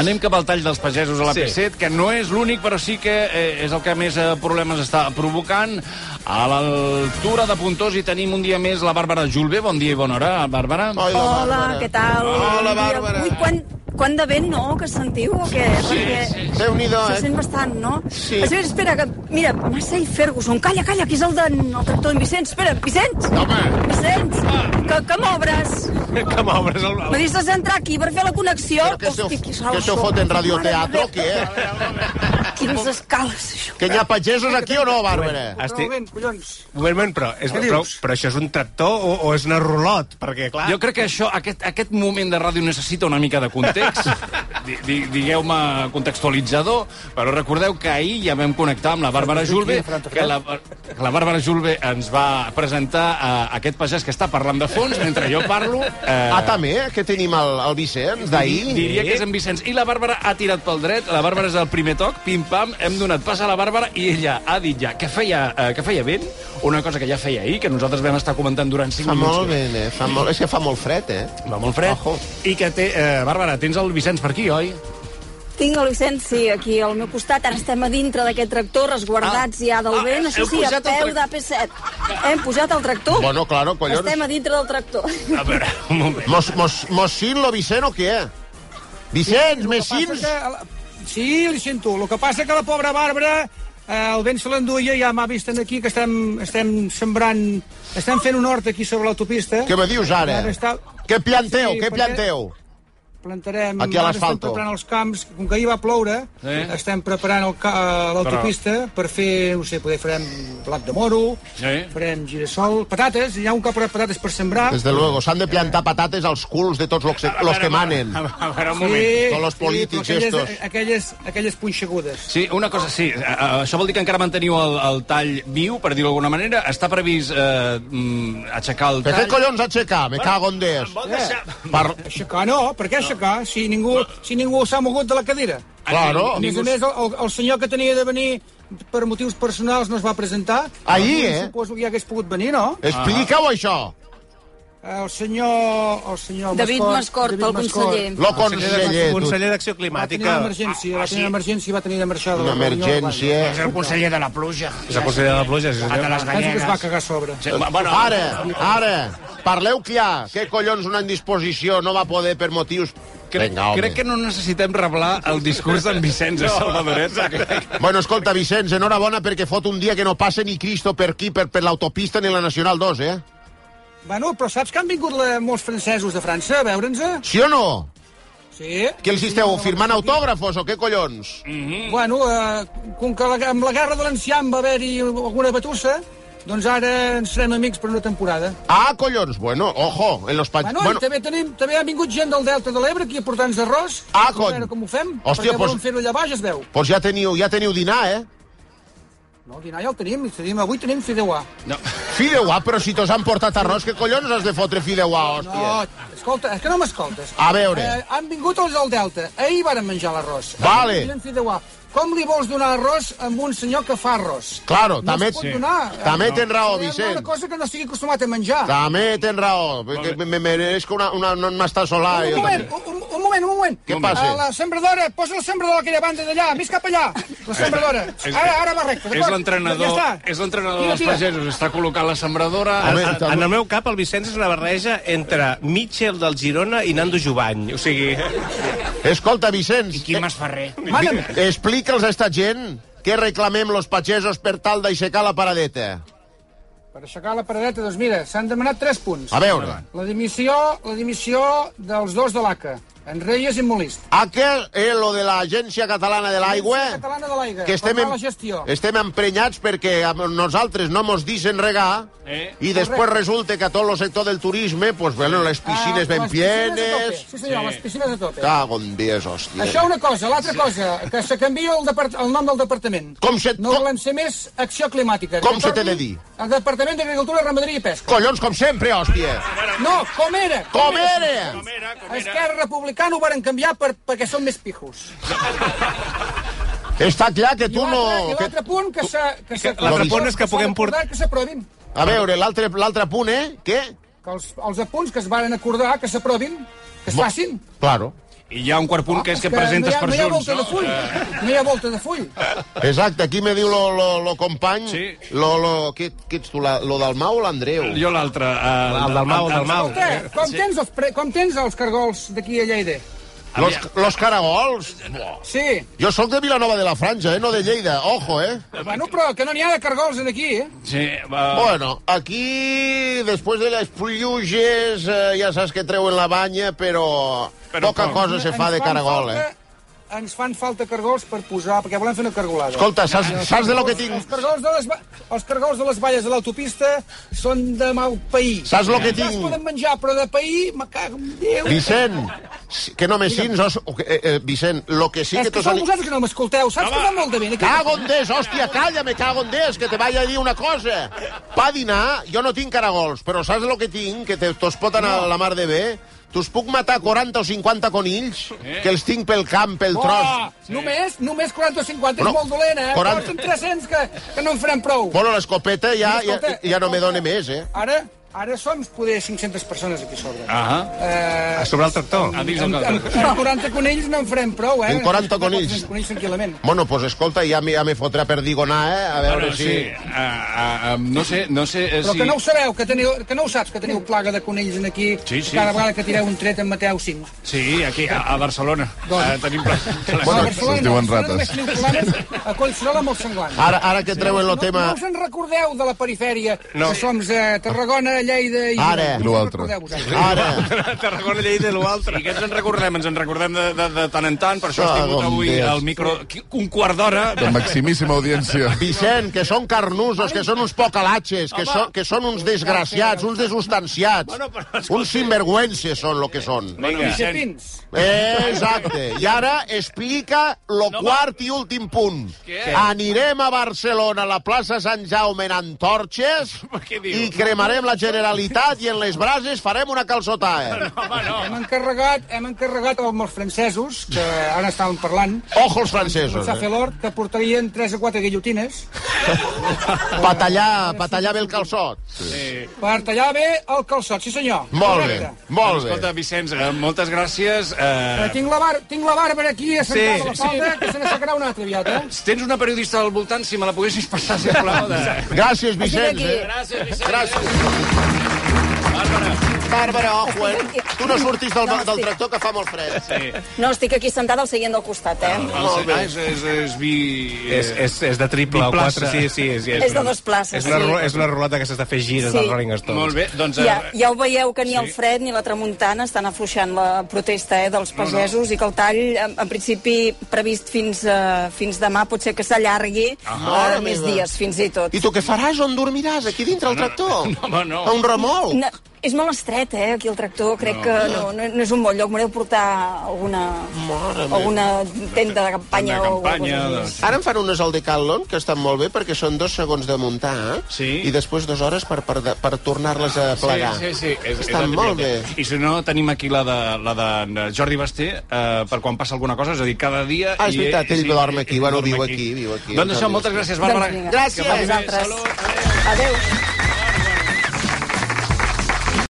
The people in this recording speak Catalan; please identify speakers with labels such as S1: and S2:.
S1: Anem cap al tall dels pagesos a la
S2: Sí.
S1: P7, que no és l'únic, però sí que eh, és el que més eh, problemes està provocant. A l'altura de Puntós hi tenim un dia més la Bàrbara Julve. Bon dia i bona hora, Bàrbara.
S3: Ai, la
S4: Hola,
S3: Bàrbara.
S4: què tal?
S3: Hola,
S4: Bon dia.
S3: Bàrbara.
S4: Ui, quan, quan de vent, no?, que sentiu, o què? Sí, Perquè...
S3: Déu-n'hi-do,
S4: Se
S3: eh?
S4: sent bastant, no?
S3: Sí.
S4: Espera, espera, que... Mira, Massey Ferguson, calla, calla, que és el, de, el tractor en Vicenç. Espera, Vicenç!
S1: Home.
S4: Vicenç,
S3: Ah.
S4: que, que m'obres.
S2: Que m'obres el...
S4: Me dius entrar aquí per fer la connexió.
S3: Però que això-
S4: Hosti,
S3: que
S4: sou,
S3: això
S4: sou.
S3: foten radioteatro
S4: Mare
S3: aquí,
S4: de Déu,
S3: eh?
S4: Quines escales, això.
S3: Que hi ha pagesos aquí o no, Bàrbara?
S2: Estic...
S5: Però, ben, collons.
S2: Moment, però, és,
S5: Què
S2: però,
S5: dius?
S2: però això és un tractor o, o és una rulot? Perquè, clar...
S1: Jo crec que això, aquest, aquest moment de ràdio necessita una mica de context, Di- di, digueu-me contextualitzador, però recordeu que ahir ja vam connectar amb la Bàrbara Julve, que la, que la Bàrbara Julve ens va presentar a aquest pagès que està parlant de fons, mentre jo parlo... Eh,
S3: Ah, també, eh, que tenim el, el Vicenç d'ahir.
S1: Diria que és en Vicenç. I la Bàrbara ha tirat pel dret, la Bàrbara és el primer toc, pim-pam, hem donat pas a la Bàrbara i ella ha dit ja que feia, eh, que feia vent, una cosa que ja feia ahir, que nosaltres vam estar comentant durant 5
S3: Fa
S1: minuts.
S3: molt bé, eh? Fa molt... És que fa molt fred, eh?
S1: Va molt fred.
S3: Ojo.
S1: I que té... Eh, Bàrbara, tens el Vicenç per aquí, oi?
S4: Tinc el Vicenç, sí, aquí al meu costat. Ara estem a dintre d'aquest tractor, resguardats
S1: Ah.
S4: ja del
S1: Ah,
S4: vent.
S1: heu
S4: Això sí, a
S1: pujat el
S4: peu
S1: trac-
S4: d'AP7. Hem pujat el tractor.
S3: Bueno, claro, collons.
S4: Estem a dintre del tractor.
S1: A veure, un moment.
S3: Mos, mos, mossín lo Vicent o què? Vicenç,
S5: El que passa
S3: messins?
S5: que a la- Sí, li sento. El que passa que la pobra Bàrbara eh, el vent se l'enduia, ja m'ha vist aquí que estem, estem sembrant... Estem fent un hort aquí sobre l'autopista.
S3: Què me dius ara?
S5: Ara està-
S3: Què planteu?
S5: Sí,
S3: Què
S5: perquè-
S3: planteu?
S5: Plantarem...
S3: Aquí a
S5: ara
S3: l'asfalto.
S5: Estem preparant els camps, com que ahir va ploure,
S1: Sí.
S5: sí. estem preparant el ca- eh, l'autopista per fer, no sé, poder farem blat de moro,
S1: Sí.
S5: farem girassol, patates, hi ha un cap de patates per sembrar.
S3: Des de luego, s'han de plantar patates als culs de tots los, los que manen.
S1: A veure, a veure, un
S5: Sí,
S1: moment.
S3: Són los polítics,
S5: però aquelles,
S3: estos.
S5: aquelles, aquelles punxegudes.
S1: Sí, una cosa, sí, eh, eh, això vol dir que encara manteniu el, el tall viu, per dir-ho d'alguna manera. Està previst eh, mm, aixecar el
S3: Per què
S1: tall...
S3: collons aixecar? Me cago en Déu.
S1: Vol deixar...
S3: Per...
S5: Aixecar no, per què aixecar? Si ningú, si ningú s'ha mogut de la cadira.
S3: Claro.
S5: A més a
S1: Ningú...
S5: més, el, el- el senyor que tenia de venir per motius personals no es va presentar.
S3: Ahir,
S5: Avui
S3: eh?
S5: Suposo que ja hagués pogut venir, no?
S1: Ah.
S3: Explica-ho, això.
S5: El senyor... El senyor
S4: David Mascort, el conseller.
S3: Lo conseller,
S2: Conseller,
S3: tu.
S2: conseller d'Acció
S5: Va tenir
S2: Climàtica.
S5: l'emergència, va tenir l'emergència i va tenir de marxar de
S3: Ah, Una
S5: la reunió.
S3: emergència.
S1: el conseller de la pluja.
S2: És el conseller de la pluja, sí, senyor.
S5: Penso que es va cagar a sobre.
S1: Sí, va- bueno,
S3: Ara, ara, parleu clar. Què collons una indisposició no va poder per motius...
S1: Crec,
S3: Vinga, home.
S1: crec que no necessitem reblar el discurs d'en Vicenç, no. Salvadoret. perquè-
S3: Bueno, escolta, Vicenç, enhorabona perquè fot un dia que no passa ni Cristo per aquí, per, per l'autopista ni la Nacional 2, eh?
S5: Bueno, però saps que han vingut la, molts francesos de França a veure'ns?
S3: Sí o no?
S5: Sí.
S3: Que els esteu firmant autògrafos o què collons?
S1: Mm.
S5: Bueno, eh, com que la, amb la guerra de l'enciam va haver-hi alguna batussa, doncs ara ens serem amics per una temporada.
S3: Ah, collons, bueno, ojo, en los panxos...
S5: Bueno, bueno. I també, tenim, també ha vingut gent del Delta de l'Ebre aquí a portar-nos arròs.
S3: Ah,
S5: A
S3: cony.
S5: veure com ho fem,
S3: Hòstia,
S5: perquè volen
S3: doncs-
S5: fer-ho allà baix, es veu.
S3: pues ja teniu, ja teniu dinar, eh?
S5: No, el dinar ja el tenim, el tenim avui tenim fideuà.
S1: No.
S3: Fideuà, ah, però si t'os han portat arròs, què collons has de fotre fideuà,
S5: No,
S3: hòstia?
S5: escolta, és que no m'escoltes.
S3: A veure.
S5: Eh, han vingut els del Delta. Ahir varen menjar l'arròs.
S3: Vale.
S5: Avui tenen fideuà. Com li vols donar arròs amb un senyor que fa arròs?
S3: Claro,
S5: no
S3: també-
S5: es pot
S3: sí.
S5: donar.
S3: També
S5: Eh,
S3: tens raó,
S5: podem donar
S3: Vicent.
S5: Una cosa que no estigui acostumat a menjar.
S3: També tens raó, perquè me, me mereixco una, una, una masta solar.
S5: Un
S3: jo
S5: moment,
S3: també.
S5: un, un moment, un moment.
S3: Què passa?
S5: A la sembradora, posa la sembradora a aquella banda d'allà, més cap allà. La sembradora. Ara, ara va recte,
S1: Eh, És
S5: d'acord?
S1: l'entrenador
S5: Ja
S1: és
S5: està.
S1: l'entrenador
S5: Tira,
S1: dels
S5: tira.
S1: pagesos. Està col·locant la sembradora...
S2: En,
S3: Home,
S2: en, en el meu cap, el Vicenç és una barreja entre Mitchell del Girona i Nando Jovany. O sigui...
S3: Escolta, Vicenç,
S1: Quimas Ferrer.
S5: Màname.
S3: eh, explica'ls a esta gent què reclamem los pagesos per tal d'aixecar la paradeta.
S5: Per aixecar la paradeta, doncs mira, s'han demanat 3 punts.
S3: A veure,
S5: La dimissió, la dimissió dels dos de l'ACA, en Reyes i en Molist.
S3: a què eh, lo de l'Agència Catalana de l'Aigua?
S5: Agència Catalana de l'Aigua,
S3: que estem,
S5: per
S3: em-
S5: la gestió.
S3: estem emprenyats perquè a nosaltres no mos deixen regar
S1: Eh.
S3: i després resulta que tot el sector del turisme, pues, bueno, les piscines ben
S5: Ah, les piscines a tope.
S3: plenes...
S5: Sí, senyor,
S1: Sí.
S5: les piscines a tope.
S3: Cago en dies, hòstia.
S5: Això una cosa, l'altra cosa, que se canvia el, depart el nom del departament.
S3: Com se-
S5: No
S3: com-
S5: volem ser més acció climàtica.
S3: Com
S5: Que
S3: se t'ha de
S5: torni
S3: dir?
S5: El Departament d'Agricultura, Ramaderia i Pesca.
S3: Collons, com sempre, hòstia.
S5: No, com era?
S3: Com era?
S5: Esquerra Republicana ho varen canviar per, perquè són més pijos.
S3: Està clar que
S5: I
S3: tu no...
S5: l'altre- i
S3: Que...
S5: l'altre punt que s'ha... que s'ha-
S2: l'altre
S5: que
S2: punt és que
S5: s'ha de
S2: puguem
S5: acordar Que s'aprovin.
S3: A veure, l'altre l'altre punt, eh? Què?
S5: Que els, els apunts que es varen acordar que s'aprovin, que es facin.
S3: Claro.
S1: I hi ha un quart punt
S5: Oh,
S1: que és que presentes
S5: no hi ha, no hi ha
S1: per
S5: volta de
S1: Junts,
S5: full.
S1: no?
S5: No hi ha volta de full.
S3: Eh. Exacte, aquí me diu lo, lo, lo company,
S1: Sí.
S3: lo, lo, què, què ets tu, la, lo del Mau o l'Andreu?
S1: Eh, Jo l'altre... El,
S2: El del Mau, el del Mau.
S5: Ostres, com, tens els pre... com tens els cargols d'aquí a Lleida?
S3: Los, los caragols?
S5: Sí.
S3: Jo sóc de Vilanova de la Franja, eh, no de Lleida, ojo, eh?
S5: Bueno, però que no n'hi ha de cargols en aquí, eh?
S1: Sí, va...
S3: Bueno, aquí, després de les pluges, eh, ja saps que treuen la banya, però,
S1: Però
S3: poca
S1: com?
S3: cosa se fa
S5: Ens
S3: de
S5: fan
S3: caragol,
S5: falta-
S3: eh?
S5: Ens fan falta cargols per posar, perquè volem fer una cargolada.
S3: Escolta, saps, saps de lo que
S5: Els
S3: tinc...
S5: cargols de les, ba- els cargols de les valles de l'autopista són de mal país.
S3: Saps lo que
S5: Ja es
S3: tinc?
S5: poden menjar, però de país, me cago en Déu.
S3: Vicent, que no me sins, os... o que- eh, eh, Vicent, lo que sí
S5: és
S3: que...
S5: que
S3: t'ho
S5: sou
S3: sali-
S5: vosaltres que no m'escolteu. Saps que fa molt de vent? Aquest...
S3: Cago en Déu, hòstia, calla, me cago en Déu, que te vaig a dir una cosa. Pa dinar, jo no tinc caragols, però saps el que tinc? Que te- tos pot anar a la mar de bé? T'us puc matar 40 o 50 conills, que els tinc pel camp, pel
S5: Oh,
S3: tros.
S5: només, només 40 o 50
S3: Bueno,
S5: és molt dolent, eh?
S3: 40.
S5: 40... Porten 300 que, que no en farem prou.
S3: Bueno, l'escopeta ja, ja,
S5: Escolta,
S3: ja no me
S5: escolta,
S3: dóna més, eh?
S5: Ara, ara som poder 500 persones aquí a sobre.
S1: Ahà,
S5: Eh,
S2: A sobre el tractor.
S1: a dins del
S5: amb, amb,
S1: caldo.
S5: amb 40 conills no en farem prou, eh?
S3: Amb 40
S5: No pots
S3: conills.
S5: fer conills tranquil·lament.
S3: Bueno, pues escolta, ja me, ja me fotrà per digonar, eh? A veure
S1: Bueno,
S3: si...
S1: sí. Ah, ah, ah, no sé, no sé... eh,
S5: Però
S1: si...
S5: que no ho sabeu, que, teniu, que no ho saps, que teniu plaga de conills en aquí,
S1: Sí, sí.
S5: cada vegada que tireu un tret en Mateu 5.
S1: Sí, aquí, a, a Barcelona.
S5: Doncs.
S1: Ah, tenim pla...
S6: Bueno,
S5: a
S6: se'ls diuen
S5: no, a Barcelona
S6: rates.
S5: només teniu problemes a Collserola amb el senglant.
S3: Ara, ara que treuen el
S5: no,
S3: Ah, tema...
S5: no us en recordeu de la perifèria,
S2: No.
S5: que som a Tarragona, Lleida i...
S3: Ara.
S5: No us en
S6: I lo altre.
S5: recordeu vosaltres.
S3: Ara...
S2: Tarragona, Lleida i l'altre.
S1: I que ens en recordem, ens en recordem de, de, de tant en tant, per això has tingut
S3: Ah, bon
S1: avui
S3: Déu.
S1: al micro un quart d'hora.
S6: De maximíssima audiència.
S3: Vicent, que són carnusos, que són uns pocalatxes, que, són, que són uns desgraciats, uns desustanciats, uns sinvergüences són lo que són.
S1: Vinga, Vicent,
S5: Pins.
S3: Exacte. I ara explica lo quart i últim punt.
S1: Què?
S3: Anirem a Barcelona, a la plaça Sant Jaume, en antorxes,
S1: Què diu?
S3: i cremarem la Generalitat i en les brases farem una calçotada.
S5: Hem encarregat, hem encarregat amb els francesos, que ara estaven parlant,
S3: Ojo els francesos.
S5: s'ha
S3: Eh?
S5: fet l'hort, que portarien 3 o 4 guillotines
S3: Pa tallar, pa tallar bé el calçot.
S5: per tallar bé el calçot, sí senyor.
S3: Molt bé,
S5: Correcte.
S3: molt bé.
S1: Doncs Escolta, Vicenç, eh, moltes gràcies.
S5: Eh,
S1: Eh,
S5: tinc, la bar tinc la Bàrbara aquí assentada
S1: Sí,
S5: a la falda, que se n'assecarà una altra aviat, eh?
S1: tens una periodista al voltant, si me la poguessis passar, sisplau. De...
S3: Gràcies, Vicenç. Eh?
S1: Gràcies, Vicenç.
S3: Gràcies. Bàrbara Ojuel, tu no surtis del,
S4: No,
S3: del
S4: sí.
S3: tractor que fa molt fred.
S4: No, estic aquí sentada al seient del costat, eh?
S1: Molt bé. Ah, és, és, és vi...
S2: És, és, és de triple o
S1: Biplaça.
S2: quatre. Sí, sí, és,
S4: És de dos places,
S2: És una,
S4: sí.
S2: ru- és una ruleta que s'ha de fer gires
S4: Sí.
S2: sí. dels Rolling Stones.
S1: Molt bé, doncs... eh,
S4: Ja, ja ho veieu que ni
S1: sí.
S4: el fred ni la tramuntana estan afluixant la protesta eh, dels pagesos i que el tall, eh, en, en principi, previst fins, uh, fins demà, potser que s'allargui
S3: Mare
S4: uh, més
S3: meva.
S4: dies, fins i tot.
S3: I tu què faràs? On dormiràs? Aquí dintre, al tractor?
S1: no, home, no.
S3: A un remol?
S4: No, és molt estret, eh, aquí el tractor. Crec no. que no, no, no és un bon lloc. M'haureu de portar alguna, alguna tenda de campanya,
S1: Tenda de
S4: o alguna
S1: campanya,
S4: cosa
S1: doncs.
S3: Ara en fan unes al Decathlon, que estan molt bé, perquè són dos segons de muntar, eh?
S1: Sí.
S3: i després dues hores per, per, per tornar-les a plegar.
S1: Sí, sí, sí. És,
S3: Estan
S1: és la
S3: molt bé.
S1: típica. I si no, tenim aquí la de, la de Jordi Basté, eh, per quan passa alguna cosa, és a dir, cada dia...
S3: Ah, és veritat, ell dorm aquí, bueno,
S1: dorm
S3: viu aquí, viu aquí,
S1: Doncs
S3: el
S1: això,
S3: Jordi
S1: moltes
S3: Basté.
S1: gràcies,
S4: Doncs
S1: Bàrbara.
S4: vinga.
S1: Que vagi bé.
S4: A vosaltres.
S1: Salut.
S4: Adéu.